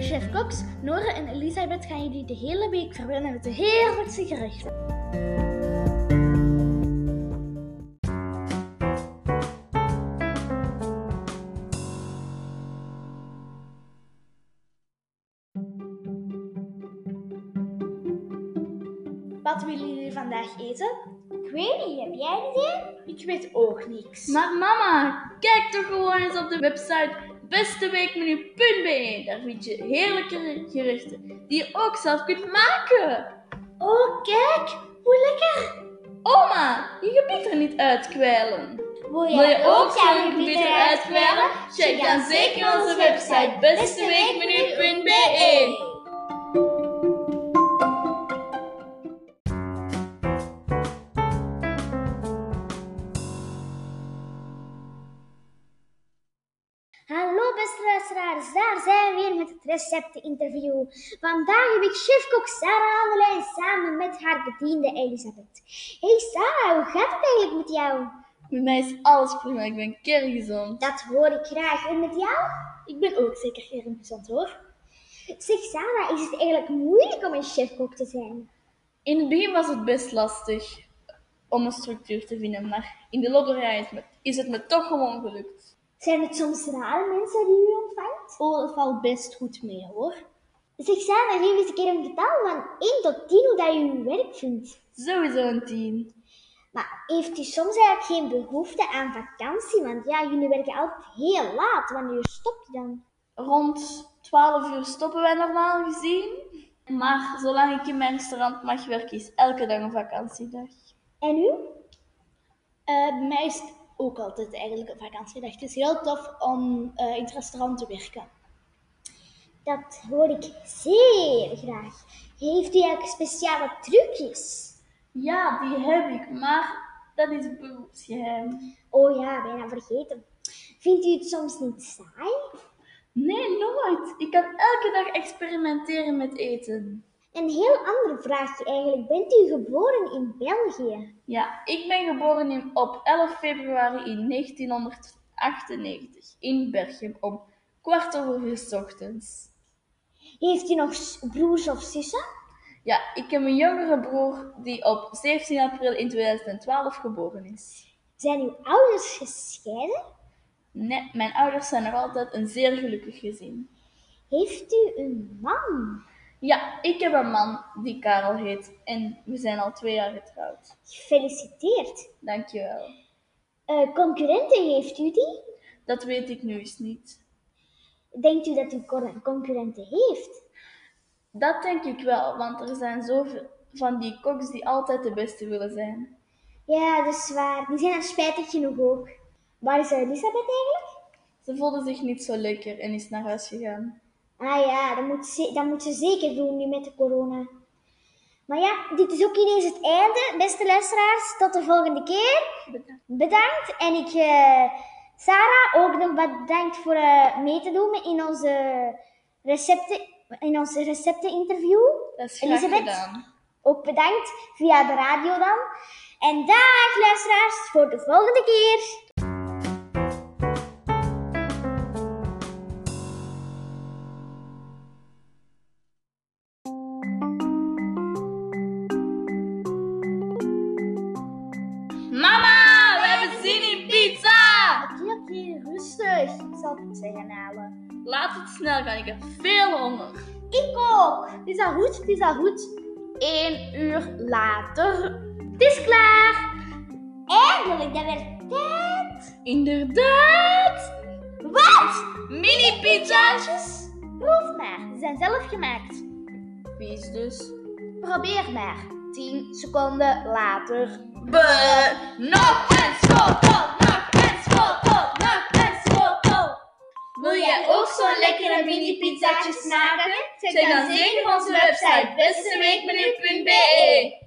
chef Cox, Nora en Elisabeth gaan jullie de hele week verwennen met de heerlijkste gerechten. Wat willen jullie vandaag eten? Ik weet niet, heb jij een idee? Ik weet ook niks. Maar mama, kijk toch gewoon eens op de website besteweekmenu.be. Daar vind je heerlijke gerechten die je ook zelf kunt maken. Oh, kijk, hoe lekker! Oma, je gebied er niet uitkwijlen. Wil Wil je ook jouw gebied eruit kwijlen? Check dan zeker onze website besteweekmenu.be. Hallo beste luisteraars, daar zijn we weer met het recepteninterview. Vandaag heb ik chefkok Sarah aan de lijn samen met haar bediende Elisabeth. Hey Sarah, hoe gaat het eigenlijk met jou? Met mij is alles prima, ik ben kerngezond. Dat hoor ik graag. En met jou? Ik ben ook zeker kerngezond hoor. Zeg Sarah, is het eigenlijk moeilijk om een chefkok te zijn? In het begin was het best lastig om een structuur te vinden, maar in de loop der jaren is het me- is het me toch gewoon gelukt. Zijn het soms rare mensen die u ontvangt? Oh, dat valt best goed mee hoor. Zeg Sarah, geef eens een keer een getal van 1 tot 10 hoe dat je uw werk vindt. Sowieso een 10. Maar heeft u soms eigenlijk geen behoefte aan vakantie? Want ja, jullie werken altijd heel laat. Wanneer stopt u dan? Rond 12 uur stoppen wij normaal gezien. Maar zolang ik in mijn restaurant mag werken, is elke dag een vakantiedag. En u? Eh, bij mij is het ook altijd eigenlijk een vakantiedag. Het is heel tof om eh, in het restaurant te werken. Dat hoor ik zeer graag. Heeft u eigenlijk speciale trucjes? Ja, die heb ik, maar dat is een beroepsgeheim. Oh ja, bijna vergeten. Vindt u het soms niet saai? Nee, nooit. Ik kan elke dag experimenteren met eten. Een heel ander vraagje eigenlijk. Bent u geboren in België? Ja, ik ben geboren in, op 11 februari in 1998 in Berchem om kwart over vier 's ochtends. Heeft u nog s- broers of zussen? Ja, ik heb een jongere broer die op 17 april in 2012 geboren is. Zijn uw ouders gescheiden? Nee, mijn ouders zijn nog altijd een zeer gelukkig gezin. Heeft u een man? Ja, ik heb een man die Karel heet en we zijn al twee jaar getrouwd. Gefeliciteerd. Dankjewel. Eh, concurrenten heeft u die? Dat weet ik nu eens niet. Denkt u dat u cor- concurrenten heeft? Dat denk ik wel, want er zijn zoveel van die koks die altijd de beste willen zijn. Ja, dat is waar. Die zijn er spijtig genoeg ook. Waar is Elisabeth eigenlijk? Ze voelde zich niet zo lekker en is naar huis gegaan. Ah ja, dat moet, ze, dat moet ze zeker doen nu met de corona. Maar ja, dit is ook ineens het einde. Beste luisteraars, tot de volgende keer. Bedankt. En ik, eh, Sarah, ook nog bedankt voor eh, mee te doen in onze recepten, in onze recepteninterview. Dat is graag Elisabeth? gedaan. Ook bedankt via de radio dan. En dag luisteraars, voor de volgende keer. Mama, we hebben zin in pizza! Oké, oké, rustig. Ik zal pizza gaan halen. Laat het snel gaan, ik heb veel honger. Ik ook. Pizza goed, pizza goed. Eén uur later. Het is klaar. Eindelijk, dat werd tijd. Inderdaad! Wat? Mini pizzaatjes! Proef maar, ze zijn zelf gemaakt. Vies dus. Probeer maar. 10 seconden later. Be, nog en schotel, nog en schotel, nog en schotel. Wil jij ook zo'n lekkere mini pizzaatjes maken? Check dan zeker onze website besteweekmenu.be